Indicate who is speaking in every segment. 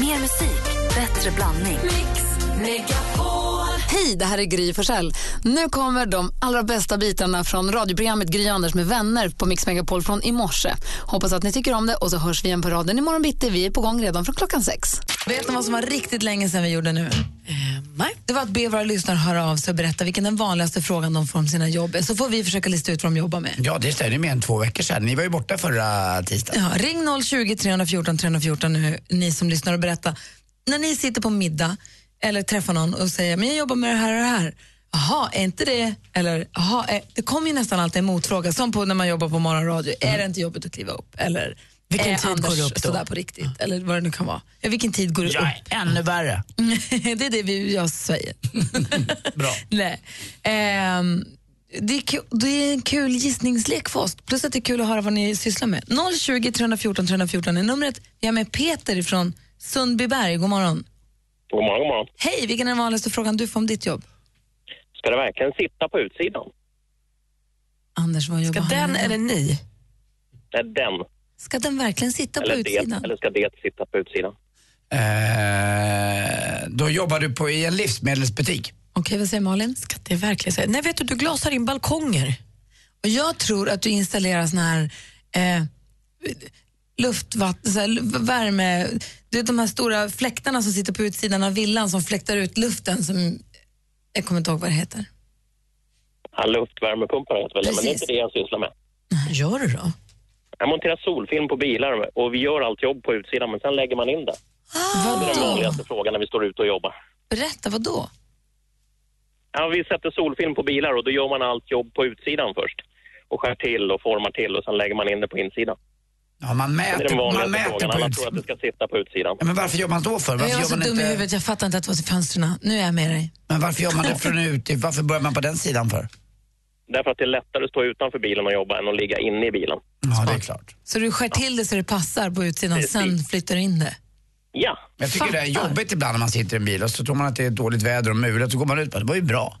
Speaker 1: Mer musik, bättre blandning. Mix, Megapol.
Speaker 2: Hej, det här är Gry Forssell. Nu kommer de allra bästa bitarna från radioprogrammet Gry Anders med vänner på Mix Megapol från i morse. Hoppas att ni tycker om det och så hörs vi igen på raden imorgon bitti. Vi är på gång redan från klockan sex.
Speaker 3: Vet ni vad som var riktigt länge sedan vi gjorde nu? nej. Det var att be våra lyssnare höra av sig och berätta vilken den vanligaste frågan de får om sina jobb är. Så får vi försöka lista ut vad de jobbar med.
Speaker 4: Ja, det är det är mer än två veckor sedan. Ni var ju borta förra tisdagen.
Speaker 3: Ja, ring 020 314 314 nu, eh, ni som lyssnar och berätta. När ni sitter på middag eller träffar någon och säger men jag jobbar med det här och det här. Jaha, är inte det... Eller, aha, är, det kommer ju nästan alltid en motfråga, som på när man jobbar på morgonradio. Är det inte jobbigt att kliva upp? Eller
Speaker 4: Mm. Vilken
Speaker 3: är
Speaker 4: tid
Speaker 3: Anders
Speaker 4: går du upp då?
Speaker 3: sådär på riktigt? Eller vad det nu kan vara. Ja, vilken tid går du
Speaker 4: Jag är
Speaker 3: upp?
Speaker 4: ännu värre.
Speaker 3: det är det vi, jag säger.
Speaker 4: Bra.
Speaker 3: Nej. Ehm, det, är ku- det är en kul gissningslek för oss. Plus att det är kul att höra vad ni sysslar med. 020 314 314 är numret. Jag är med Peter från Sundbyberg. God morgon.
Speaker 5: God morgon, god morgon.
Speaker 3: Hej, vilken är den vanligaste frågan du får om ditt jobb?
Speaker 5: Ska det verkligen sitta på utsidan?
Speaker 3: Anders, vad jobbar
Speaker 6: Ska
Speaker 3: han
Speaker 6: den
Speaker 3: med?
Speaker 6: eller ni?
Speaker 5: Nej, den.
Speaker 3: Ska den verkligen sitta på
Speaker 5: Eller
Speaker 3: utsidan?
Speaker 5: det. Eller ska det sitta på utsidan?
Speaker 4: Eh, då jobbar du på, i en livsmedelsbutik.
Speaker 3: Okej, vad säger Malin?
Speaker 6: Ska det verkligen säga? Nej, vet du, du glasar in balkonger.
Speaker 3: Och jag tror att du installerar sån här eh, luftvatten, så här, lu- värme... Du vet de här stora fläktarna som sitter på utsidan av villan som fläktar ut luften som... Jag kommer inte ihåg vad det heter.
Speaker 5: Han luftvärmepumpar heter väl det, men det är
Speaker 3: Precis.
Speaker 5: inte det jag sysslar med.
Speaker 6: Gör du då?
Speaker 5: Jag monterar solfilm på bilar och vi gör allt jobb på utsidan, men sen lägger man in det. Det är den
Speaker 3: Vadå?
Speaker 5: vanligaste frågan när vi står ute och jobbar.
Speaker 3: Ah. Berätta, vadå?
Speaker 5: Ja, vi sätter solfilm på bilar och då gör man allt jobb på utsidan först. Och skär till och formar till och sen lägger man in det på insidan.
Speaker 4: Ja, man
Speaker 5: Det är
Speaker 4: mäter,
Speaker 5: den
Speaker 4: man
Speaker 5: vanligaste
Speaker 4: mäter
Speaker 5: frågan.
Speaker 4: på
Speaker 5: Alla tror att det
Speaker 4: utsidan.
Speaker 5: ska sitta på utsidan.
Speaker 4: Ja, men varför gör man då för?
Speaker 3: Jag
Speaker 4: Varför
Speaker 3: var
Speaker 4: gör
Speaker 3: så
Speaker 4: man
Speaker 3: dum i
Speaker 4: inte,
Speaker 3: huvudet, jag fattar inte att det var till fönstren. Nu är jag med dig.
Speaker 4: men varför gör man det från ut, Varför börjar man på den sidan för?
Speaker 5: Därför att det är lättare att stå utanför bilen och jobba än att ligga inne i bilen.
Speaker 4: Ja, det är klart.
Speaker 3: Så du skär till det så det passar på utsidan,
Speaker 5: Precis.
Speaker 3: sen flyttar du in det.
Speaker 5: Ja,
Speaker 4: Men Jag tycker det är
Speaker 3: Fattar.
Speaker 4: jobbigt ibland när man sitter i en bil och så tror man att det är dåligt väder och mulet så går man ut och bara, det var ju bra.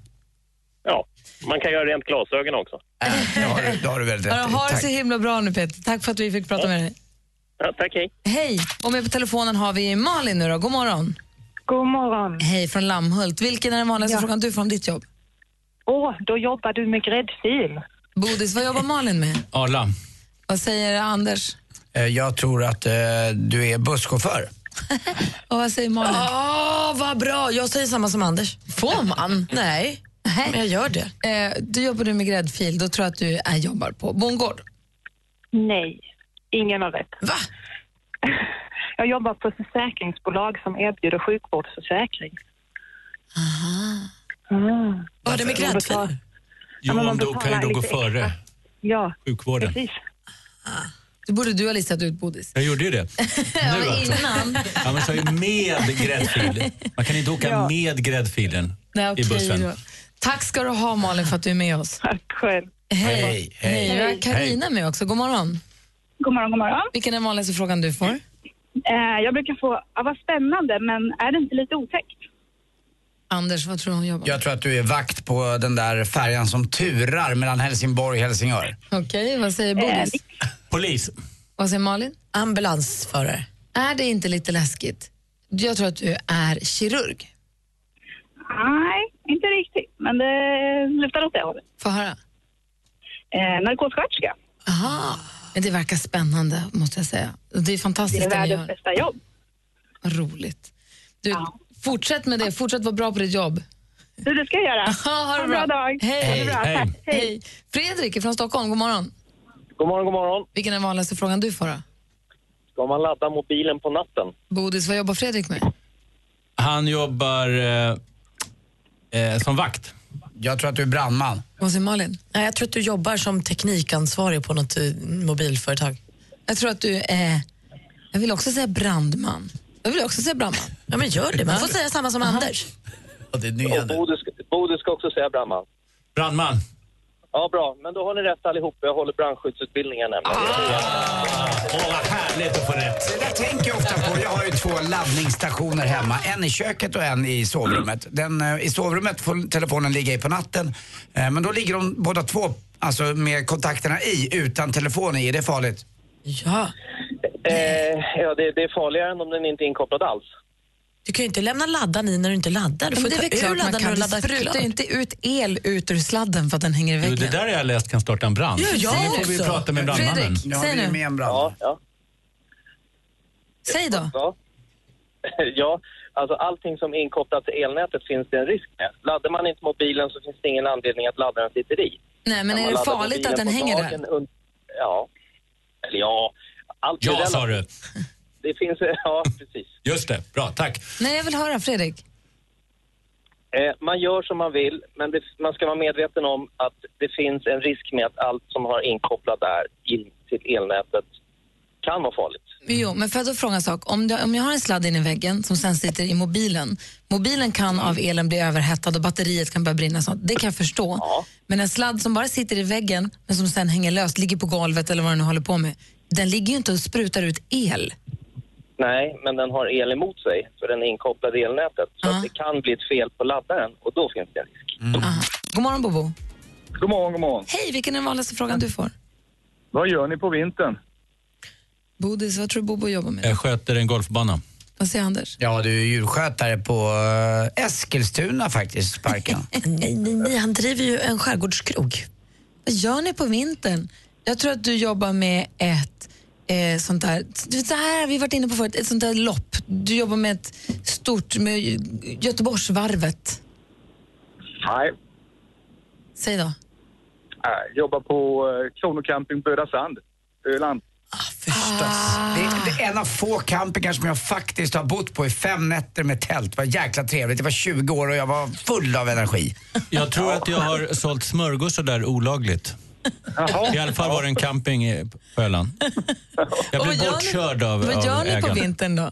Speaker 5: ja. Man kan göra rent glasögon också.
Speaker 4: Äh, det, har du, det har du väldigt
Speaker 3: Ja,
Speaker 4: rätt i.
Speaker 3: Ha det
Speaker 4: Tack.
Speaker 3: så himla bra nu Peter. Tack för att vi fick prata med dig.
Speaker 5: Ja, tack, hej.
Speaker 3: Hej! Och med på telefonen har vi Malin nu då. God morgon.
Speaker 7: God morgon.
Speaker 3: Hej från Lammhult. Vilken är den vanligaste frågan du får om ditt jobb?
Speaker 7: Åh, då jobbar du med gräddfil.
Speaker 3: Bodis, vad jobbar Malin med?
Speaker 8: Arla.
Speaker 3: Vad säger Anders?
Speaker 4: Eh, Jag tror att eh, du är busschaufför.
Speaker 3: Och vad säger Malin?
Speaker 6: Åh, vad bra! Jag säger samma som Anders. Får man? Nej,
Speaker 3: Nej.
Speaker 6: men jag gör det.
Speaker 3: Eh, du jobbar du med gräddfil, då tror jag att du är, jobbar på bondgård.
Speaker 7: Nej, ingen har rätt.
Speaker 6: Va?
Speaker 7: Jag jobbar på ett försäkringsbolag som erbjuder sjukvårdsförsäkring. Ah.
Speaker 6: Vad har det med gräddfiler?
Speaker 8: Jo,
Speaker 7: men man
Speaker 8: om du kan ju
Speaker 7: betalar
Speaker 8: då gå
Speaker 7: lite
Speaker 8: före
Speaker 7: extra. Ja,
Speaker 8: sjukvården.
Speaker 7: precis.
Speaker 3: Det borde du ha listat ut, Bodis.
Speaker 8: Jag gjorde ju det. Nu
Speaker 3: men
Speaker 8: alltså.
Speaker 3: innan.
Speaker 8: Ja, man kör ju med gräddfilen. Man kan inte åka med gräddfilen
Speaker 3: Nej,
Speaker 8: i
Speaker 3: okej
Speaker 8: bussen.
Speaker 3: då. Tack ska du ha Malin för att du är med oss.
Speaker 7: Tack själv.
Speaker 3: Hej.
Speaker 4: Hej, hej.
Speaker 3: Hej. Vi har Carina med också. God morgon.
Speaker 9: God morgon, god morgon.
Speaker 3: Vilken är den vanligaste frågan du får?
Speaker 9: Eh, jag brukar få, ja, vad spännande, men är det inte lite otäckt?
Speaker 3: Anders, vad tror du hon jobbar med?
Speaker 4: Jag tror att du är vakt på den där färjan som turar mellan Helsingborg och Helsingör.
Speaker 3: Okej, vad säger Bodis?
Speaker 8: Polis.
Speaker 3: Vad säger Malin?
Speaker 6: Ambulansförare.
Speaker 3: Är det inte lite läskigt? Jag tror att du är kirurg.
Speaker 9: Nej, inte riktigt, men det lutar åt det hållet.
Speaker 3: Få höra.
Speaker 9: Eh, narkossköterska,
Speaker 3: Aha. Men det verkar spännande, måste jag säga. Det är
Speaker 9: det
Speaker 3: fantastiskt
Speaker 9: är
Speaker 3: det ni
Speaker 9: världens
Speaker 3: gör.
Speaker 9: bästa jobb.
Speaker 3: Vad roligt. Du,
Speaker 9: Ja.
Speaker 3: Fortsätt med det. Fortsätt vara bra på ditt jobb.
Speaker 9: Du, det ska jag göra.
Speaker 3: Ha
Speaker 9: en bra dag.
Speaker 3: Hej.
Speaker 9: Ha det bra.
Speaker 8: Hej.
Speaker 9: Tack. Hej.
Speaker 3: Hej. Fredrik från Stockholm, god morgon.
Speaker 5: God morgon, god morgon.
Speaker 3: Vilken är den vanligaste frågan du får? Då?
Speaker 5: Ska man ladda mobilen på natten?
Speaker 3: Bodis, vad jobbar Fredrik med?
Speaker 8: Han jobbar eh, eh, som vakt.
Speaker 4: Jag tror att du är brandman.
Speaker 3: Vad säger Malin?
Speaker 6: Nej, jag tror att du jobbar som teknikansvarig på något eh, mobilföretag.
Speaker 3: Jag tror att du är... Jag vill också säga brandman. Jag vill också säga brandman.
Speaker 6: Ja, men gör det. Man får säga samma som Anders.
Speaker 4: Ja, det är nya nu.
Speaker 5: Bodil ska också säga brandman.
Speaker 8: Brandman.
Speaker 5: Ja, bra. Men då har ni rätt allihop. Jag håller brandskyddsutbildningen nämligen.
Speaker 8: Åh, vad härligt att få rätt.
Speaker 4: Det där tänker jag ofta på. Jag har ju två laddningsstationer hemma. En i köket och en i sovrummet. Den, eh, I sovrummet får telefonen ligga i på natten. Eh, Men då ligger de båda två, alltså med kontakterna i, utan telefonen i. Det är farligt.
Speaker 6: Ja.
Speaker 5: Eh, ja, det, det är farligare än om den inte är inkopplad alls.
Speaker 6: Du kan ju inte lämna laddan i när du inte laddar. Du får
Speaker 3: Men det är
Speaker 6: ta
Speaker 3: väl
Speaker 6: ur
Speaker 3: klart man
Speaker 6: laddan
Speaker 3: kan.
Speaker 6: och
Speaker 3: Du
Speaker 6: ladda
Speaker 3: sprutar
Speaker 6: klart.
Speaker 3: ju inte ut el ut ur sladden för att den hänger i
Speaker 8: Jo,
Speaker 3: väggen.
Speaker 8: det där har jag läst kan starta en brand.
Speaker 6: Ja, jag
Speaker 8: det får vi
Speaker 6: också.
Speaker 8: prata med brandmannen.
Speaker 3: Fredrik,
Speaker 4: Nu har
Speaker 3: säg
Speaker 4: vi ju
Speaker 3: nu.
Speaker 4: med en
Speaker 5: Ja,
Speaker 4: brand.
Speaker 5: ja,
Speaker 3: Säg då.
Speaker 5: ja. ja, alltså allting som är inkopplat till elnätet finns det en risk med. Laddar man inte mobilen så finns det ingen anledning att laddaren sitter i.
Speaker 3: Nej, men
Speaker 5: Kan
Speaker 3: är
Speaker 5: man
Speaker 3: det
Speaker 5: ladda
Speaker 3: farligt
Speaker 5: mobilen
Speaker 3: att den
Speaker 5: på
Speaker 3: hänger där?
Speaker 5: dagen und- ja. Eller ja, allt är
Speaker 8: Ja,
Speaker 5: relativt.
Speaker 8: sa du.
Speaker 5: Det finns, ja precis.
Speaker 8: Just det, bra, tack.
Speaker 3: Nej, jag vill höra Fredrik.
Speaker 5: Eh, man gör som man vill, men det, man ska vara medveten om att det finns en risk med att allt som har inkopplat där in till elnätet kan vara farligt.
Speaker 3: Jo, men får jag då fråga en sak? Om, du, om jag har en sladd in i väggen som sen sitter i mobilen. Mobilen
Speaker 5: Mm.
Speaker 3: kan av elen bli överhettad och batteriet kan börja brinna. och Sånt. Det kan jag förstå.
Speaker 5: Ja.
Speaker 3: Men en sladd som bara sitter i väggen men som sen hänger löst, ligger på golvet eller vad den nu håller på med. Den ligger ju inte och sprutar ut el.
Speaker 5: Nej, men den har el emot sig, för den är inkopplad i elnätet. Så
Speaker 3: Ja.
Speaker 5: att det kan bli ett fel på laddaren och då finns det en risk.
Speaker 3: Aha. God morgon Bobo.
Speaker 5: Mm. God morgon, god morgon.
Speaker 3: Hej, vilken är den vanligaste frågan du får?
Speaker 5: Vad gör ni på vintern?
Speaker 3: Bodis, vad tror du Bobo jobbar med?
Speaker 8: Jag sköter en golfbana.
Speaker 3: Vad säger Anders?
Speaker 4: Ja, du är djurskötare på eh, Eskilstuna faktiskt, parken.
Speaker 6: Nej, nej, nej, han driver ju en skärgårdskrog.
Speaker 3: Vad gör ni på vintern? Jag tror att du jobbar med ett eh, sånt där, du vet, det här har vi varit inne på förut, ett sånt där lopp. Du jobbar med ett stort, med Göteborgsvarvet.
Speaker 5: Nej,
Speaker 3: Säg då.
Speaker 5: jag jobbar på eh, Kronocamping Böda Sand, Öland.
Speaker 3: Ah.
Speaker 4: Det är, det är en av få campingar som jag faktiskt har bott på i fem nätter med tält. Det var jäkla trevligt. Jag var 20 år och jag var full av energi.
Speaker 8: Jag tror att jag har sålt smörgåsar där olagligt. I alla fall var det en camping eh, på Öland. Jag
Speaker 3: Och vad
Speaker 8: blev
Speaker 3: gör ni-
Speaker 8: bortkörd av,
Speaker 3: Vad
Speaker 8: av
Speaker 3: gör ni på
Speaker 8: ägaren.
Speaker 3: vintern då?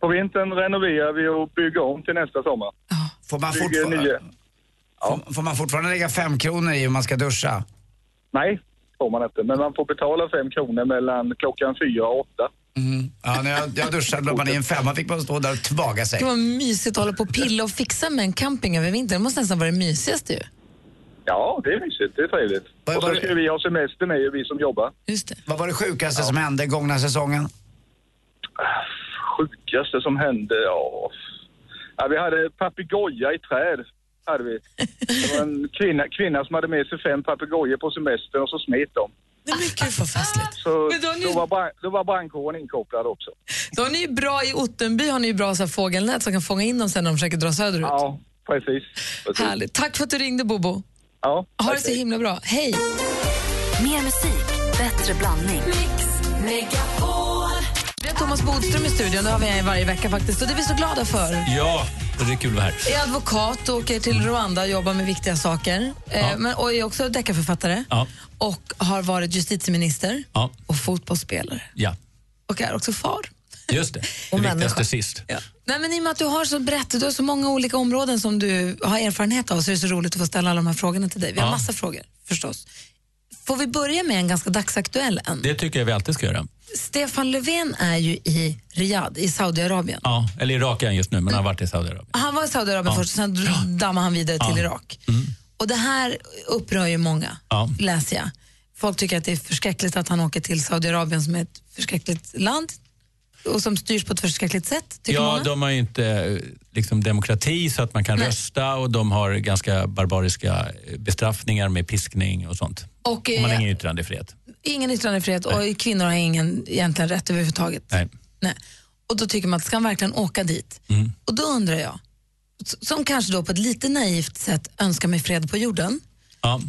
Speaker 5: På vintern renoverar vi och bygger om till nästa sommar.
Speaker 4: Får man,
Speaker 5: Bygger nya.
Speaker 4: fortfarande, får, får man fortfarande lägga fem kronor i hur man ska duscha?
Speaker 5: Nej, får man inte. Men man får betala fem kronor mellan klockan fyra och åtta.
Speaker 4: Ja, när jag, jag duschade la man i en femma fick man stå där och tvaga sig.
Speaker 3: Det var mysigt att hålla på och pilla och fixa med en camping över vintern. Det måste nästan vara det mysigaste ju.
Speaker 5: Ja, det är mysigt. Det är trevligt.
Speaker 4: Vad-
Speaker 5: Och
Speaker 4: vad-
Speaker 5: så ska vi ha semester med ju, vi som jobbar.
Speaker 3: Just det.
Speaker 4: Vad var det sjukaste som hände gångna säsongen?
Speaker 5: Sjukaste som hände, ja... ja vi hade papegoja i träd. Hade vi. Det var en kvinna, kvinna som hade med sig fem papegojor på semestern och så smet de.
Speaker 6: Det är mycket förfastligt.
Speaker 5: Så
Speaker 3: Men då har ni-
Speaker 5: då, var brand, då var brandkåren inkopplad också.
Speaker 3: Då har ni ju bra, i Ottenby har ni ju bra så här, fågelnät som kan fånga in dem sen när de försöker dra söderut.
Speaker 5: Ja, precis. precis.
Speaker 3: Härligt. Tack för att du ringde Bobo.
Speaker 5: Ja,
Speaker 3: Ha det
Speaker 5: tack.
Speaker 3: så himla bra. Hej!
Speaker 1: Mer musik, bättre blandning.
Speaker 3: Vi har Thomas Bodström i studion, det har vi varje vecka faktiskt. Och det är vi så glada för.
Speaker 8: Ja, det är kul att vara här.
Speaker 3: är advokat och åker till Rwanda och jobbar med viktiga saker. Eh, men, och är också deckarförfattare.
Speaker 8: Ja.
Speaker 3: Och har varit justitieminister
Speaker 8: Ja.
Speaker 3: och fotbollsspelare.
Speaker 8: Ja,
Speaker 3: Och är också far.
Speaker 8: just det. Det
Speaker 6: människa.
Speaker 8: viktigaste sist.
Speaker 3: Nej, men I och med att du har så brett, du har så många olika områden som du har erfarenhet av så är det så roligt att få ställa alla de här frågorna till dig. Vi har
Speaker 8: Ja.
Speaker 3: massa frågor förstås. Får vi börja med en ganska dagsaktuell en?
Speaker 8: Det tycker jag vi alltid ska göra.
Speaker 3: Stefan Löfven är ju i Riyadh i Saudiarabien.
Speaker 8: Ja, eller Irak är han just nu,
Speaker 3: Mm.
Speaker 8: men han har varit i Saudiarabien.
Speaker 3: Han var i Saudiarabien först, sen dammade han vidare till Irak. Och Det här upprör ju många,
Speaker 8: Mm. Ja.
Speaker 3: läser jag. Folk tycker att det är förskräckligt att han åker till Saudiarabien som är ett förskräckligt land och som styrs på ett förskräckligt sätt, tycker
Speaker 8: Ja,
Speaker 3: många.
Speaker 8: de har ju inte eh, liksom, demokrati så att man kan
Speaker 3: Nej.
Speaker 8: rösta och de har ganska barbariska eh, bestraffningar med piskning och sånt.
Speaker 3: Och,
Speaker 8: Man har
Speaker 3: eh,
Speaker 8: ingen yttrandefrihet.
Speaker 3: Ingen yttrandefrihet och kvinnor har ingen egentligen rätt överhuvudtaget.
Speaker 8: Nej.
Speaker 3: Nej. Och då tycker man att ska han verkligen åka dit?
Speaker 8: Mm.
Speaker 3: Och då undrar jag, s- som kanske då på ett lite naivt sätt önskar mig fred på jorden,
Speaker 8: Ja.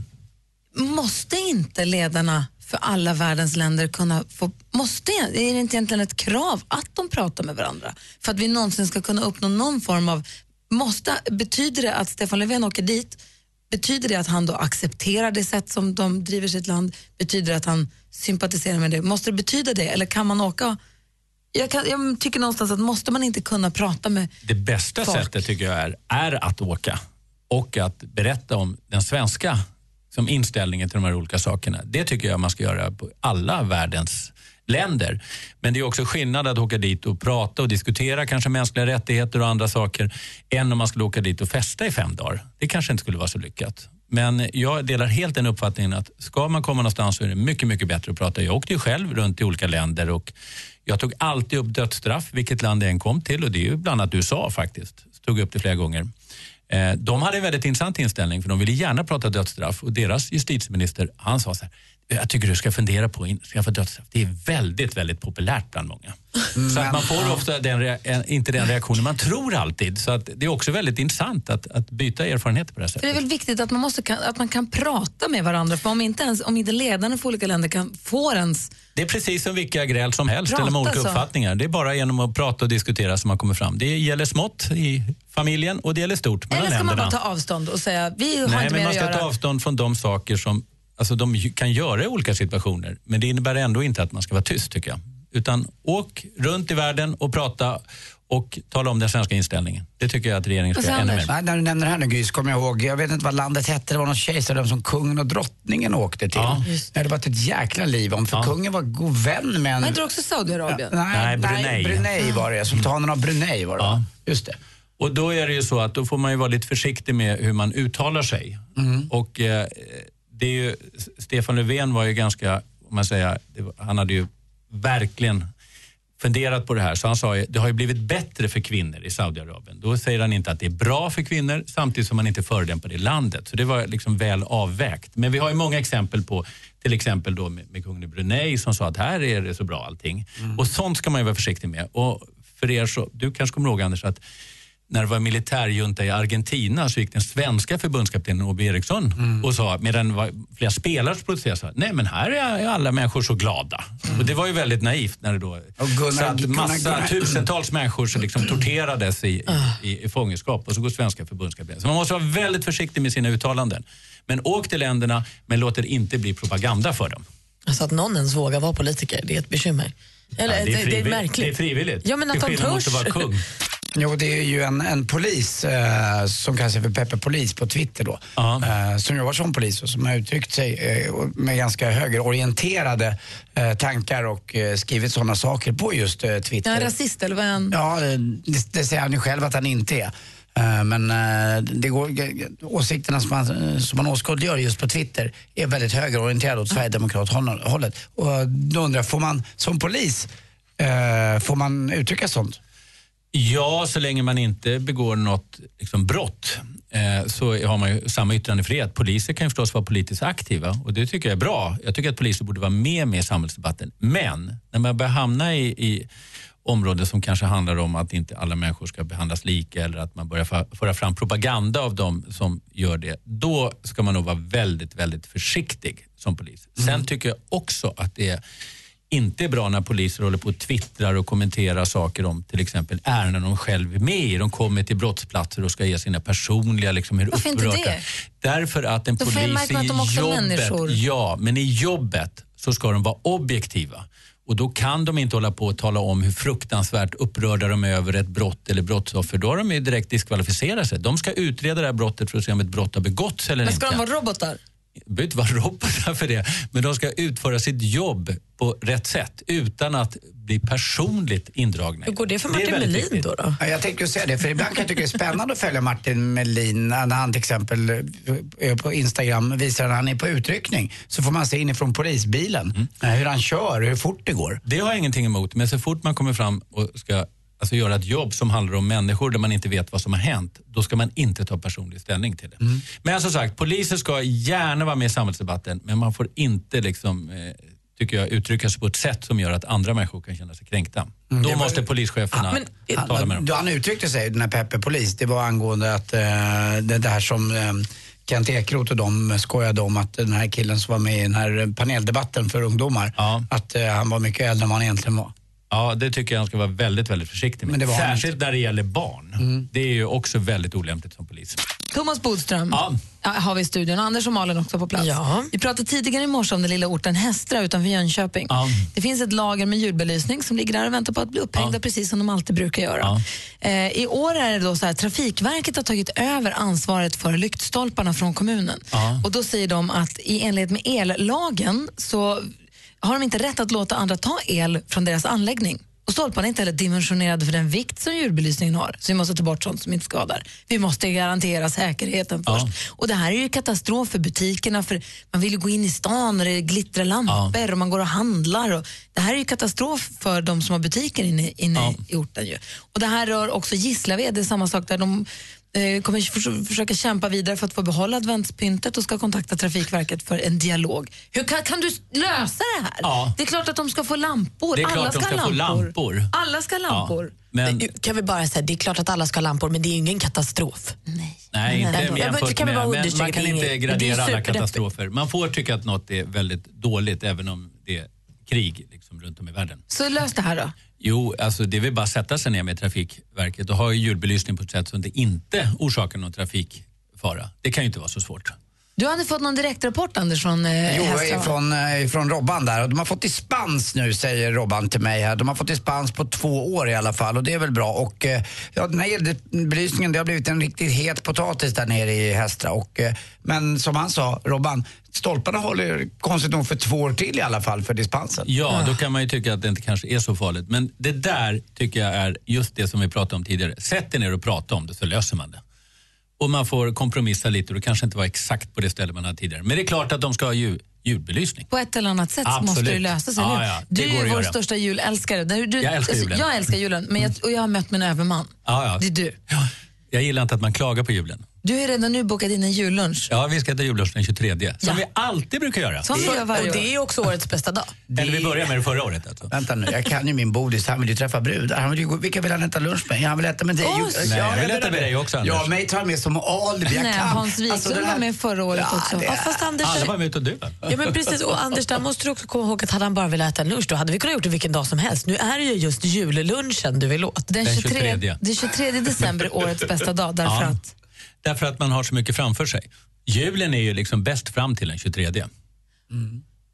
Speaker 3: måste inte ledarna för alla världens länder kunna få, måste, är det inte egentligen ett krav att de pratar med varandra? För att vi någonsin ska kunna uppnå någon form av, måste, betyder det att Stefan Löfven åker dit, betyder det att han då accepterar det sätt som de driver sitt land, betyder det att han sympatiserar med det, måste det betyda det eller kan man åka jag, kan, jag tycker någonstans att måste man inte kunna prata med...
Speaker 8: Det bästa
Speaker 3: Folk.
Speaker 8: sättet tycker jag är, är att åka och att berätta om den svenska som inställningen till de här olika sakerna. Det tycker jag man ska göra på alla världens länder. Men det är också skillnad att åka dit och prata och diskutera kanske mänskliga rättigheter och andra saker än om man skulle åka dit och festa i fem dagar. Det kanske inte skulle vara så lyckat. Men jag delar helt den uppfattningen att ska man komma någonstans så är det mycket, mycket bättre att prata. Jag åkte ju själv runt i olika länder och jag tog alltid upp dödsstraff, vilket land jag än kom till och det är ju bland annat USA faktiskt. Så Tog jag upp det flera gånger. Eh, De hade en väldigt intressant inställning för de ville gärna prata dödsstraff och deras justitieminister, han sa så här, jag tycker du ska fundera på att införa dödsstraff. Det är väldigt, väldigt populärt bland många. Så att man
Speaker 4: Mm.
Speaker 8: får ofta den, rea- eh, inte den reaktionen man tror alltid. Så att det är också väldigt intressant att, att byta erfarenheter på det här
Speaker 3: För det är
Speaker 8: sättet.
Speaker 3: väl viktigt att man, måste kan, att man kan prata med varandra. För om inte, ens, om inte ledarna för olika länder kan få ens...
Speaker 8: Det är precis som vilka gräl som helst
Speaker 3: Prata
Speaker 8: eller med olika
Speaker 3: så.
Speaker 8: uppfattningar. Det är bara genom att prata och diskutera som man kommer fram. Det gäller smått i familjen och det gäller stort mellan
Speaker 3: Eller ska man
Speaker 8: länderna.
Speaker 3: bara ta avstånd och säga vi har
Speaker 8: Nej,
Speaker 3: inte
Speaker 8: men
Speaker 3: mer
Speaker 8: man
Speaker 3: att
Speaker 8: ska
Speaker 3: göra?
Speaker 8: ta avstånd från de saker som alltså, de ju- kan göra i olika situationer. Men det innebär ändå inte att man ska vara tyst tycker jag. Utan åk
Speaker 3: Mm.
Speaker 8: runt i världen och prata och tala om den svenska inställningen. Det tycker jag att regeringen ska
Speaker 3: Vad
Speaker 8: göra
Speaker 3: säger
Speaker 8: ännu
Speaker 3: Anders?
Speaker 8: mer.
Speaker 4: Nej, när du nämner det här nu Gry, så kommer jag ihåg, jag vet inte vad landet hette, det var någon kejsardöme som kungen och drottningen åkte till.
Speaker 8: Ja.
Speaker 4: Det hade varit ett jäkla liv om, för kungen var god vän med en...
Speaker 3: Men inte också Saudiarabien?
Speaker 8: Nej, Brunei.
Speaker 4: Brunei var det, sultanen av Brunei var det va? Just det.
Speaker 8: Och då är det ju så att då får man ju vara lite försiktig med hur man uttalar sig. Och eh, det är ju, Stefan Löfven var ju ganska, om man säger, det var, han hade ju verkligen funderat på det här. Så han sa ju, det har ju blivit bättre för kvinnor i Saudiarabien. Då säger han inte att det är bra för kvinnor samtidigt som man inte förolämpar det landet. Så det var liksom väl avvägt. Men vi har ju många exempel på, till exempel då med, med kungen i Brunei som sa att här är det så bra allting. Och sånt ska man ju vara försiktig med. Och för er så, du kanske kommer ihåg Anders att när det var militärjunta i Argentina så gick den svenska förbundskaptenen Åby Eriksson och sa, medan det var flera spelare som protesterade, sa, nej men här är alla människor så glada. Och det var ju väldigt naivt när det då
Speaker 4: Gunnar-
Speaker 8: satt
Speaker 4: Gunnar-
Speaker 8: massa,
Speaker 4: Gunnar-
Speaker 8: tusentals människor som liksom torterades i, i, i fångenskap och så går svenska förbundskaptenen. Så man måste vara väldigt försiktig med sina uttalanden. Men åk till länderna, men låt det inte bli propaganda för dem.
Speaker 6: Alltså att någon ens vågar vara politiker, det är ett bekymmer. Eller,
Speaker 8: Ja,
Speaker 6: det, det, är
Speaker 8: frivilligt.
Speaker 6: märkligt.
Speaker 8: Det är frivilligt.
Speaker 6: Ja, men att
Speaker 8: Till
Speaker 6: de
Speaker 8: skillnad mot
Speaker 6: törs.
Speaker 8: att vara kung.
Speaker 4: Jo, det är ju en, en polis eh, som kallas för Peppe Polis på Twitter då.
Speaker 8: Ja.
Speaker 4: Eh, som jobbar som polis och som har uttryckt sig eh, och- med ganska högerorienterade eh, tankar och eh, skrivit sådana saker på just eh,
Speaker 3: Är han
Speaker 4: Twitter.
Speaker 3: rasist eller vad är han?
Speaker 4: Ja, eh, det, det säger han ju själv att han inte är. Eh, Men eh, det går, åsikterna som man, eh, som man åskådliggör just på Twitter är väldigt högerorienterade åt Sverigedemokrathållet. Och då undrar jag, får man som polis, eh, får man uttrycka sånt?
Speaker 8: Ja, så länge man inte begår något liksom, brott eh, så har man ju samma yttrandefrihet. Poliser kan ju förstås vara politiskt aktiva och det tycker jag är bra. Jag tycker att poliser borde vara med med i samhällsdebatten. Men när man börjar hamna i, i områden som kanske handlar om att inte alla människor ska behandlas lika eller att man börjar fa- föra fram propaganda av dem som gör det, då ska man nog vara väldigt, väldigt försiktig som polis. Sen tycker jag också att det är inte är bra när poliser håller på och twittrar och kommenterar saker om till exempel ärenden de själv är med i. De kommer till brottsplatser och ska ge sina personliga... Liksom, hur
Speaker 3: Varför inte
Speaker 8: upprörda.
Speaker 3: det?
Speaker 8: Därför att en
Speaker 3: Då får jag
Speaker 8: polis
Speaker 3: märka att
Speaker 8: i
Speaker 3: de också är
Speaker 8: jobbet...
Speaker 3: människor.
Speaker 8: Ja, men i jobbet så ska de vara objektiva. Och då kan de inte hålla på och tala om hur fruktansvärt upprörda de är över ett brott eller brottsoffer. Då har de ju direkt diskvalificerat sig. De ska utreda det här brottet för att se om ett brott har begåtts eller
Speaker 3: Men
Speaker 8: inte
Speaker 3: ska de vara robotar?
Speaker 8: behöver inte vara robotar för det, men de ska utföra sitt jobb på rätt sätt utan att bli personligt indragna.
Speaker 6: Hur går det för
Speaker 8: är
Speaker 6: Martin
Speaker 8: väldigt
Speaker 6: Melin
Speaker 8: viktigt.
Speaker 6: då? då?
Speaker 4: Ja, jag tänkte ju säga det, för ibland kan jag tycka det är spännande att följa Martin Melin när han till exempel eh, på Instagram visar när han är på utryckning. Så får man se inifrån polisbilen eh, hur han kör, hur fort det går.
Speaker 8: Det har jag ingenting emot, men så fort man kommer fram och ska alltså, göra ett jobb som handlar om människor där man inte vet vad som har hänt, då ska man inte ta personlig ställning till det. Men som sagt, poliser ska gärna vara med i samhällsdebatten, men man får inte liksom, eh, tycker jag, uttrycka sig på ett sätt som gör att andra människor kan känna sig kränkta. Då måste polischeferna
Speaker 6: men-
Speaker 8: tala med dem.
Speaker 4: Han, då han uttryckte sig, den här Peppe Polis, det var angående att eh, det, det här som eh, Kent Ekeroth och de skojade om att den här killen som var med i den här eh, paneldebatten för ungdomar,
Speaker 8: Ja.
Speaker 4: att eh, han var mycket äldre än vad han egentligen var.
Speaker 8: Ja, det tycker jag han ska vara väldigt, väldigt försiktig med.
Speaker 4: Men det var han Mm.
Speaker 8: Särskilt när det gäller barn. Det är ju också väldigt olämpligt som polis.
Speaker 3: Thomas Bodström
Speaker 8: Ja.
Speaker 3: ja. har vi i studion. Anders och Malin också på plats.
Speaker 6: Ja.
Speaker 3: Vi pratade tidigare i morse om den lilla orten Hästra utanför Jönköping.
Speaker 8: Ja.
Speaker 3: Det finns ett lager med julbelysning som ligger där och väntar på att bli upphängda precis som de alltid brukar göra. Eh, I år är det då så här, Trafikverket har tagit över ansvaret för lyktstolparna från kommunen. Och då säger de att i enlighet med ellagen så har de inte rätt att låta andra ta el från deras anläggning. Och stolparna är inte heller dimensionerade för den vikt som djurbelysningen har. Så vi måste ta bort sånt som inte skadar. Vi måste garantera säkerheten
Speaker 8: Ja.
Speaker 3: först. Och det här är ju katastrof för butikerna för man vill ju gå in i stan och det glittrar lampor och man går och handlar. Och det här är ju katastrof för de som har butiker inne, inne i orten. Ju. Och det här rör också Gislaved, det är samma sak där. De eh, kommer förs- försöka kämpa vidare för att få behålla adventspyntet och ska kontakta Trafikverket för en dialog. Hur kan, kan du lösa det här?
Speaker 8: Ja.
Speaker 3: Det är klart att de ska få lampor.
Speaker 8: Det är klart
Speaker 3: Alla
Speaker 8: de
Speaker 3: ska,
Speaker 8: ska
Speaker 3: ha
Speaker 8: få
Speaker 3: lampor.
Speaker 8: lampor.
Speaker 3: Alla ska ha lampor.
Speaker 8: Men,
Speaker 6: Kan vi bara säga, det är klart att alla ska ha lampor, men det är ju ingen katastrof.
Speaker 8: nej,
Speaker 6: Nej,
Speaker 8: inte
Speaker 6: men det
Speaker 8: jämfört
Speaker 6: kan vi
Speaker 8: med,
Speaker 6: Mm. bara
Speaker 8: men
Speaker 6: understryka,
Speaker 8: man kan
Speaker 6: det är
Speaker 8: inte
Speaker 6: inget- det är
Speaker 8: gradera alla
Speaker 6: superdeppigt.
Speaker 8: katastrofer. Man får tycka att något är väldigt dåligt även om det är krig liksom, runt om i världen.
Speaker 3: Så lös det här då.
Speaker 8: Jo, alltså det vill bara att sätta sig ner med Trafikverket och ha julbelysning på ett sätt som det inte orsakar någon trafikfara. Det kan ju inte vara så svårt.
Speaker 3: Du hade fått någon direktrapport Anders från eh,
Speaker 4: Jo,
Speaker 3: Hästra, va?
Speaker 4: från, eh, från Robban där. Och de har fått dispens nu, säger Robban till mig här. De har fått dispens på två år i alla fall och det är väl bra. Och eh, ja, den här elbelysningen, det har blivit en riktigt het potatis där nere i Hästra. Och, eh, men som han sa, Robban, stolparna håller konstigt nog för två år till i alla fall för dispensen.
Speaker 8: Ja,
Speaker 3: Ah.
Speaker 8: då kan man ju tycka att det inte kanske är så farligt. Men det där tycker jag är just det som vi pratade om tidigare. Sätt er ner och prata om det så löser man det. Och man får kompromissa lite och det kanske inte var exakt på det stället man hade tidigare. Men det är klart att de ska ha ljud, ljudbelysning.
Speaker 3: På ett eller annat sätt så måste
Speaker 8: Absolut.
Speaker 3: det ju lösas,
Speaker 8: Ja,
Speaker 3: eller hur?
Speaker 8: ja, det
Speaker 3: Du är
Speaker 8: går
Speaker 3: ju
Speaker 8: att
Speaker 3: vår
Speaker 8: göra.
Speaker 3: största julälskare. Du, du,
Speaker 8: Jag älskar julen.
Speaker 3: jag älskar julen, men jag, och jag har mött min överman.
Speaker 8: Ja, ja.
Speaker 3: Det är du.
Speaker 8: Ja, Jag gillar inte att man klagar på julen.
Speaker 3: Du har ju redan nu bokat in en jullunch.
Speaker 8: Ja, vi ska äta jullunch den 23. Som
Speaker 3: Ja.
Speaker 8: vi alltid brukar göra.
Speaker 3: Som vi gör
Speaker 6: Och
Speaker 3: varje år.
Speaker 6: det är ju också årets bästa dag.
Speaker 8: Eller vi började med det förra året alltså.
Speaker 4: Vänta nu, jag kan ju min bodis. Han vill ju träffa brudar. Han vill ju, gå- vilka vill han äta lunch med? Han vill äta med dig.
Speaker 3: Åh,
Speaker 4: Jo,
Speaker 3: så-
Speaker 8: Nej, jag vill
Speaker 4: menar
Speaker 8: äta med
Speaker 4: det.
Speaker 8: dig också,
Speaker 4: Ja,
Speaker 8: Anders.
Speaker 4: mig tar han med som alibi. Jag
Speaker 3: Nej,
Speaker 4: kan.
Speaker 3: Hans Wiklund
Speaker 4: Alltså, den
Speaker 3: var med förra året
Speaker 4: ja,
Speaker 3: också.
Speaker 4: det-
Speaker 6: Ja, fast Anders,
Speaker 8: Alla var med utom du va?
Speaker 6: ja, men precis, och Anders där måste du också komma ihåg att hade han bara velat äta en lunch, då hade vi kunnat gjort det vilken dag som helst. Nu är det ju just jullunchen du vill åt.
Speaker 3: Den
Speaker 8: Den
Speaker 3: 23,
Speaker 8: 23.
Speaker 3: den 23 december är årets bästa dag därför
Speaker 8: Ja.
Speaker 3: att...
Speaker 8: Därför att man har så mycket framför sig. Julen är ju liksom bäst fram till den 23.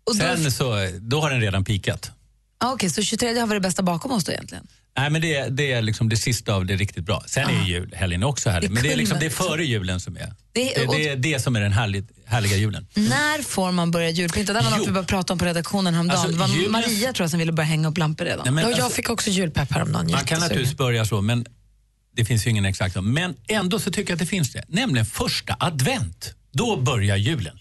Speaker 3: Och då,
Speaker 8: Sen så, då har den redan pikat.
Speaker 3: ah, okej, så 23 har vi det bästa bakom oss då egentligen?
Speaker 8: Nej, men det, är- det är liksom det sista av det riktigt bra. Sen är ju julhelgen också härlig.
Speaker 3: Det är
Speaker 8: Men det är, liksom, det är
Speaker 3: kulmen.
Speaker 8: före julen som är.
Speaker 3: Det-
Speaker 8: Det, det,
Speaker 3: och-
Speaker 8: är det som är den härligt, härliga julen.
Speaker 3: När får man börja julpynta? Det var något
Speaker 8: Jo.
Speaker 3: vi började prata om på redaktionen häromdagen.
Speaker 8: Alltså,
Speaker 3: det var
Speaker 8: julen-
Speaker 3: Maria tror jag som ville börja hänga upp lampor redan.
Speaker 8: Nej, men
Speaker 6: Ja, jag
Speaker 8: alltså,
Speaker 6: fick också julpepp häromdagen.
Speaker 8: man kan
Speaker 6: jättesugen.
Speaker 8: naturligtvis börja så, men det finns ju ingen exakt. Men ändå så tycker jag att det finns det. Nämligen första advent. Då börjar julen.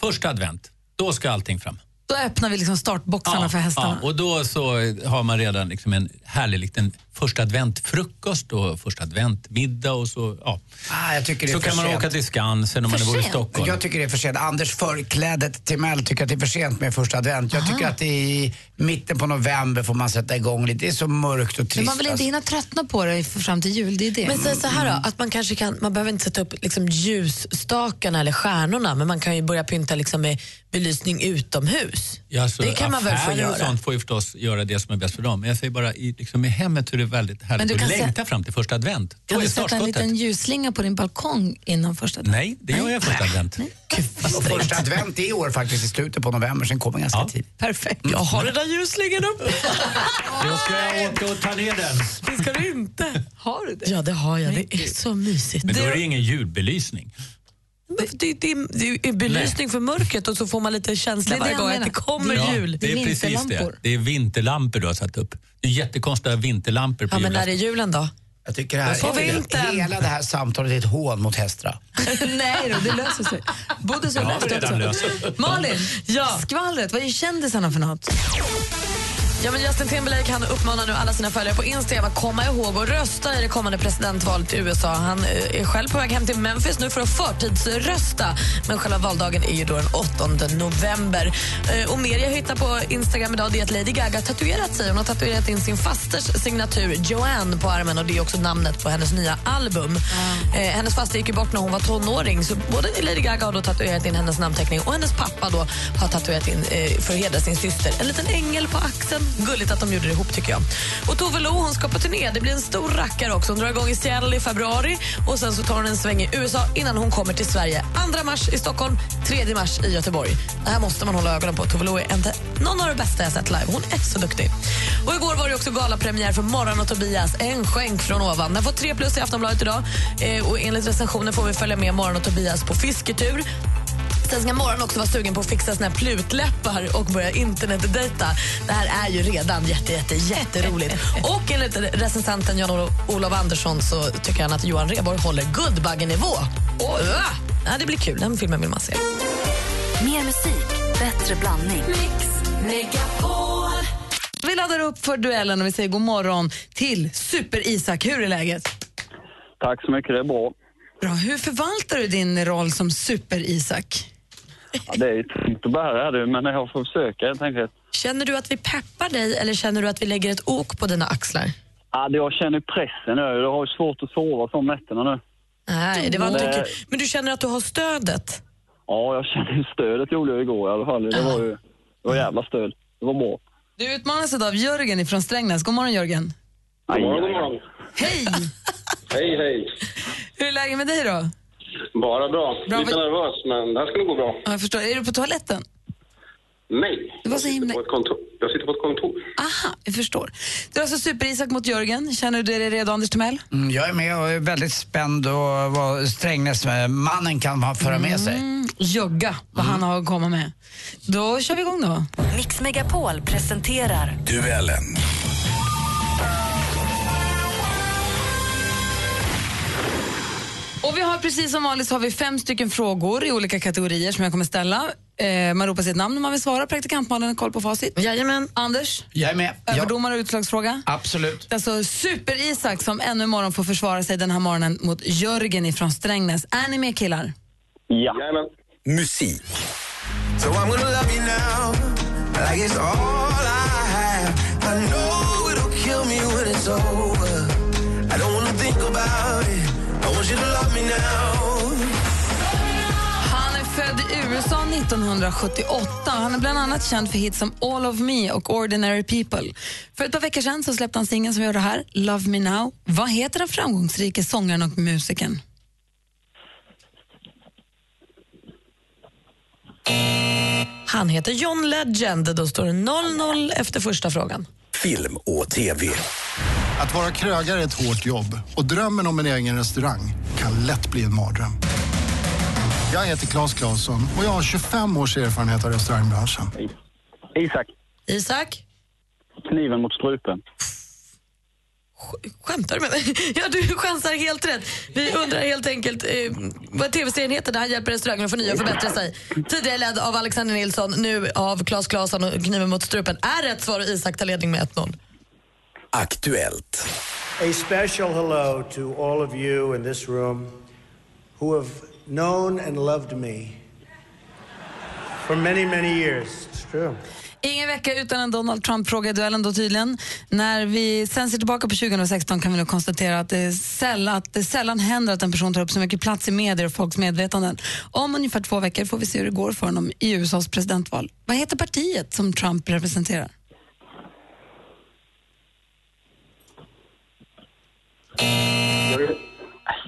Speaker 8: Första advent. Då ska allting fram.
Speaker 3: Då öppnar vi liksom startboxarna för hästarna.
Speaker 8: Ja, och då så har man redan liksom en härlig liten första adventfrukost och första adventmiddag och så, ja.
Speaker 4: Ah, jag tycker det är
Speaker 8: Så
Speaker 4: för
Speaker 8: kan man
Speaker 4: sent.
Speaker 8: åka till Skansen om man
Speaker 3: För
Speaker 8: bor i
Speaker 3: sent?
Speaker 8: Stockholm.
Speaker 4: Jag tycker det är för sent. Anders förklädet till Mell tycker att det är för sent med första advent. Jag tycker att det är i mitten på november får man sätta igång lite. Det är så mörkt och trist.
Speaker 3: Men man vill inte hinna tröttna på det för- fram till jul, det är det.
Speaker 6: alltså. Men säg så här då, att man kanske kan, man behöver inte sätta upp liksom ljusstakarna eller stjärnorna, men man kan ju börja pynta liksom med belysning utomhus.
Speaker 8: Ja, så
Speaker 6: det kan man väl få
Speaker 8: affärer
Speaker 6: göra?
Speaker 8: och sånt får ju förstås göra det som är bäst för dem. Men jag säger bara, i, liksom, i hemmet så är det väldigt
Speaker 3: Men
Speaker 8: härligt
Speaker 3: du
Speaker 8: att
Speaker 3: kan
Speaker 8: längta fram till första advent. Då
Speaker 3: kan
Speaker 8: är
Speaker 3: du sätta en
Speaker 8: startskottet.
Speaker 3: liten ljusslinga på din balkong innan första dagen? Alltså,
Speaker 8: Nej, det gör jag första advent.
Speaker 4: Alltså. Och första advent i år faktiskt i slutet på november, sen kommer ganska
Speaker 8: Ja.
Speaker 4: tidigt.
Speaker 3: Perfekt.
Speaker 6: Jag har den där ljusslingan uppe.
Speaker 8: Då ska jag åka och ta ner den.
Speaker 6: Det ska du inte.
Speaker 3: Har du det?
Speaker 6: Ja, det har jag. Det är så mysigt.
Speaker 8: Men då är det ingen julbelysning.
Speaker 6: Det, det, det, det är belysning för mörkret och så får man lite känsla
Speaker 3: Det är det
Speaker 6: varje
Speaker 3: jag
Speaker 6: gång att
Speaker 3: menar.
Speaker 6: det kommer
Speaker 8: Ja,
Speaker 6: jul.
Speaker 3: Det är
Speaker 8: precis det.
Speaker 3: vinterlampor.
Speaker 8: Det är vinterlampor du har satt upp. Det är jättekonstiga vinterlampor på
Speaker 6: Ja, men
Speaker 8: julafton.
Speaker 6: när är julen då?
Speaker 4: Jag tycker det här,
Speaker 6: sa vi inte.
Speaker 4: hela det här samtalet är ett hån mot Hestra.
Speaker 3: Nej då, det löser sig. Bodis har
Speaker 8: Jag har
Speaker 3: löst det
Speaker 8: redan
Speaker 3: också.
Speaker 8: löst.
Speaker 3: Malin, ja. skvallret, vad är kändisarna för något?
Speaker 6: Ja, men Justin Timberlake han uppmanar nu alla sina följare på Instagram att komma ihåg och rösta i det kommande presidentvalet i USA. Han eh, är själv på väg hem till Memphis nu för att förtidsrösta. Men själva valdagen är ju då den 8 november. Eh, Och mer jag hittar på Instagram idag det är att Lady Gaga har tatuerat sig. Hon har tatuerat in sin fasters signatur Joanne på armen och det är också namnet på hennes nya album. Eh, hennes faster gick ju bort när hon var tonåring så både Lady Gaga har då tatuerat in hennes namnteckning och hennes pappa då har tatuerat in eh, för att hedra sin syster. En liten ängel på axeln. Gulligt att de gjorde det ihop tycker jag. Och Tove Lo hon ska på turné. Det blir en stor rackare också. Hon drar igång i Seattle i februari och sen så tar hon en sväng i USA innan hon kommer till Sverige. 2 mars i Stockholm, 3 mars i Göteborg. Det här måste man hålla ögonen på. Tove Lo är inte någon av de bästa jag sett live. Hon är så duktig. Och igår var det också galapremiär för Morran och Tobias, en skänk från ovan. Den får 3 plus i Aftonbladet idag eh, och enligt recensionen får vi följa med Morran och Tobias på fisketur. Sen ska morgon också vara sugen på att fixa sina plutläppar och börja internetdejta. Det här är ju redan jätte, jätte, jätteroligt. Och enligt recensenten Jan-Olof Andersson så tycker han att Johan Rheborg håller Guldbaggenivå. Oj! Ja, det blir kul. Den filmen vill man se.
Speaker 1: Mer musik, bättre blandning.
Speaker 3: Vi laddar upp för duellen och vi säger god morgon till Super-Isak. Hur är läget?
Speaker 10: Tack så mycket, det är bra.
Speaker 3: Bra. Hur förvaltar du din roll som Super-Isak?
Speaker 10: Ja, det är ju tungt att bära du, men jag får försöka helt enkelt.
Speaker 6: Känner du att vi peppar dig eller känner du att vi lägger ett ok på dina axlar?
Speaker 10: Ja, det- jag känner pressen nu. Jag har ju svårt att sova på nätterna nu.
Speaker 6: Nej, det var inte
Speaker 10: Nej.
Speaker 6: kul. Men du känner att du har stödet?
Speaker 10: Ja, jag känner ju stödet gjorde jag igår i alla fall. Det var ju det var jävla stöd. Det var bra.
Speaker 3: Du utmanas idag av Jörgen från Strängnäs. God morgon Jörgen.
Speaker 10: Aj,
Speaker 11: morgon,
Speaker 10: aj,
Speaker 11: god
Speaker 10: aj.
Speaker 11: morgon.
Speaker 3: Hej!
Speaker 11: Hej, hej.
Speaker 3: Hur är läget med dig då?
Speaker 11: Bara bra.
Speaker 3: Bra,
Speaker 11: Lite
Speaker 3: vad-
Speaker 11: nervös, men det här ska nog gå bra.
Speaker 3: Ja, jag förstår. Är du på toaletten?
Speaker 11: Nej.
Speaker 3: Det var så
Speaker 11: Jag sitter
Speaker 3: himla-
Speaker 11: på ett kontor. Jag sitter på ett kontor.
Speaker 3: Aha, jag förstår. Du är alltså Super-Isak mot Jörgen. Känner du dig redo Anders Timell?
Speaker 4: Mm, jag är med och är väldigt spänd och vad Strängnäs eh, mannen kan ha- föra med sig.
Speaker 3: Mm. Jogga, vad han har att komma med. Mm. Då kör vi igång då.
Speaker 1: Mix Megapol presenterar
Speaker 12: Duellen.
Speaker 3: Och vi har precis som vanligt så har vi fem stycken frågor i olika kategorier som jag kommer ställa. Eh, man ropar sitt namn om man vill svara. Praktikantmannen koll på facit.
Speaker 6: Jajamän.
Speaker 3: Anders,
Speaker 4: Jag är med. Ja,
Speaker 3: överdomare och utslagsfråga.
Speaker 4: absolut.
Speaker 3: Det är Alltså Super-Isak som ännu imorgon får försvara sig den här morgonen mot Jörgen ifrån Strängnäs. Är ni med killar?
Speaker 10: Ja.
Speaker 11: Jajamän.
Speaker 12: Musik. So I'm gonna love you now like it's all I have. I know it'll kill me when it's over. I don't wanna think about it. I want you to love me now.
Speaker 3: Han är född i USA 1978 och han är bland annat känd för hits som All of me och Ordinary people. För ett par veckor sedan så släppte han singeln som vi hörde här, Love me now. Vad heter den framgångsrike sångaren och musikern?
Speaker 6: Han heter John Legend. Då står det 0-0 efter första frågan.
Speaker 12: Film och TV.
Speaker 13: Att vara krögare är ett hårt jobb och drömmen om en egen restaurang kan lätt bli en mardröm. Jag heter Claes Claesson och jag har 25 års erfarenhet av restaurangbranschen.
Speaker 10: Isak,
Speaker 6: Isak?
Speaker 10: kniven mot strupen.
Speaker 6: Sk- Skämtar du med mig? Ja, du chansar helt rätt. Vi undrar helt enkelt eh, vad tv-serien heter där han hjälper restaurangen att förnya och förbättra sig. Tidigare ledd av Alexander Nilsson, nu av Claes Claesson och Kniven mot strupen. Är rätt svar och Isak tar ledning med 1-0.
Speaker 12: Aktuellt.
Speaker 14: A special hello to all of you in this room who have known and loved me for many, many years. It's true.
Speaker 3: Ingen vecka utan en Donald Trump-fråga i duellen då tydligen. När vi sen ser tillbaka på 2016 kan vi nog konstatera att det, är sällan, att det sällan händer att en person tar upp så mycket plats i medier och folks medvetanden. Om ungefär två veckor får vi se hur det går för honom i USAs presidentval. Vad heter partiet som Trump representerar?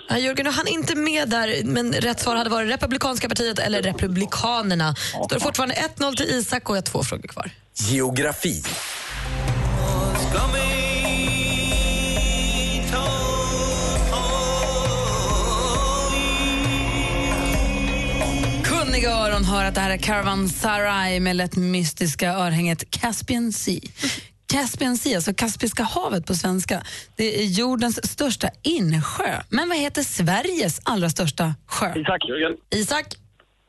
Speaker 6: Ja, Jörgen, du hann inte med där, men rätt svar hade varit Republikanska partiet eller Republikanerna. Står det fortfarande 1-0 till Isak och jag har två frågor kvar.
Speaker 12: Geografi.
Speaker 3: Kunniga öron hör att det här är Caravansarai med lätt mystiska örhänget Caspian Sea. Caspian Sea, alltså Kaspiska havet på svenska, det är jordens största insjö. Men vad heter Sveriges allra största sjö?
Speaker 10: Isak.
Speaker 11: Jörgen.
Speaker 6: Isak?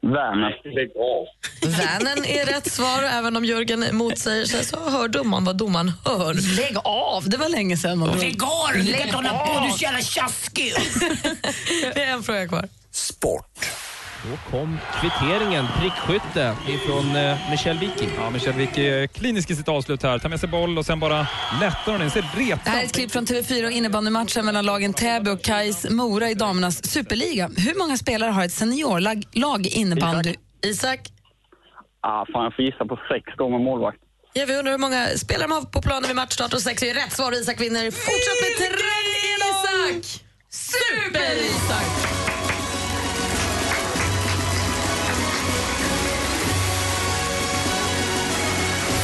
Speaker 10: Värner.
Speaker 11: Lägg av.
Speaker 6: Vänern är rätt svar och även om Jörgen motsäger sig så hör domaren vad domaren hör.
Speaker 3: Lägg av, det var länge sedan. man drog.
Speaker 4: av du! Du kan inte hålla på, du är så jävla tjaskig!
Speaker 6: Det är en fråga kvar.
Speaker 12: Sport.
Speaker 15: Då kom kvitteringen, prickskytte ifrån eh, Michel Wiki. Ja, Michel Wiki är klinisk i sitt avslut här. Tar med sig boll och sen bara lättar hon in. Ser
Speaker 3: Det här är
Speaker 15: retsam.
Speaker 3: ett klipp från TV4 och innebandymatchen mellan lagen Täby och Kais Mora i damernas superliga. Hur många spelare har ett seniorlag lag i innebandy?
Speaker 6: Isak,
Speaker 10: Ah, fan, jag får gissa på sex gånger målvakt.
Speaker 6: ja, vi undrar hur många spelare de har på planen vid matchstart och sex är rätt svar. Isak vinner. Fortsatt med tre Isak! Super-Isak!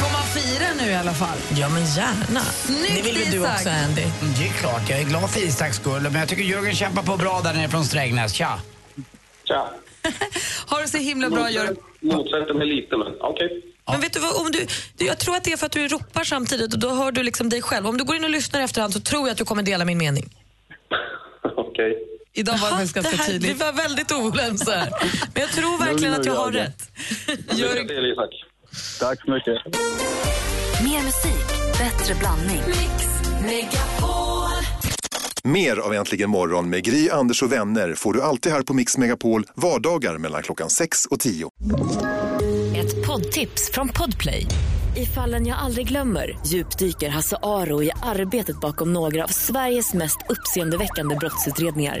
Speaker 3: Får man fira nu i alla fall?
Speaker 6: Ja, men gärna.
Speaker 3: Snyggt,
Speaker 6: det vill väl du
Speaker 3: Isak.
Speaker 6: också, Andy?
Speaker 4: Det är klart, jag är glad för Isaks skull, men jag tycker Jörgen kämpar på bra där nere från Strängnäs. Tja!
Speaker 11: Tja.
Speaker 16: ha det så himla bra, gör
Speaker 10: Motsätter mig lite, men okej.
Speaker 17: Men vet du vad, om du, du, jag tror att det är för att du ropar samtidigt och då hör du liksom dig själv. Om du går in och lyssnar efterhand så tror jag att du kommer dela min mening.
Speaker 10: Okej.
Speaker 16: Idag var det faktiskt ganska
Speaker 17: det här,
Speaker 16: tydligt.
Speaker 17: Vi var väldigt oense här. Men jag tror verkligen att jag har rätt.
Speaker 10: Lycka till, Isak.
Speaker 18: Tack så mycket.
Speaker 3: Mer musik, bättre blandning. Mix Megapol.
Speaker 5: Mer av Äntligen morgon med Gry, Anders och vänner får du alltid här på Mix Megapol vardagar mellan klockan 6 och 10.
Speaker 3: Ett poddtips från Podplay. I fallen jag aldrig glömmer djupdyker Hasse Aro i arbetet bakom några av Sveriges mest uppseendeväckande brottsutredningar.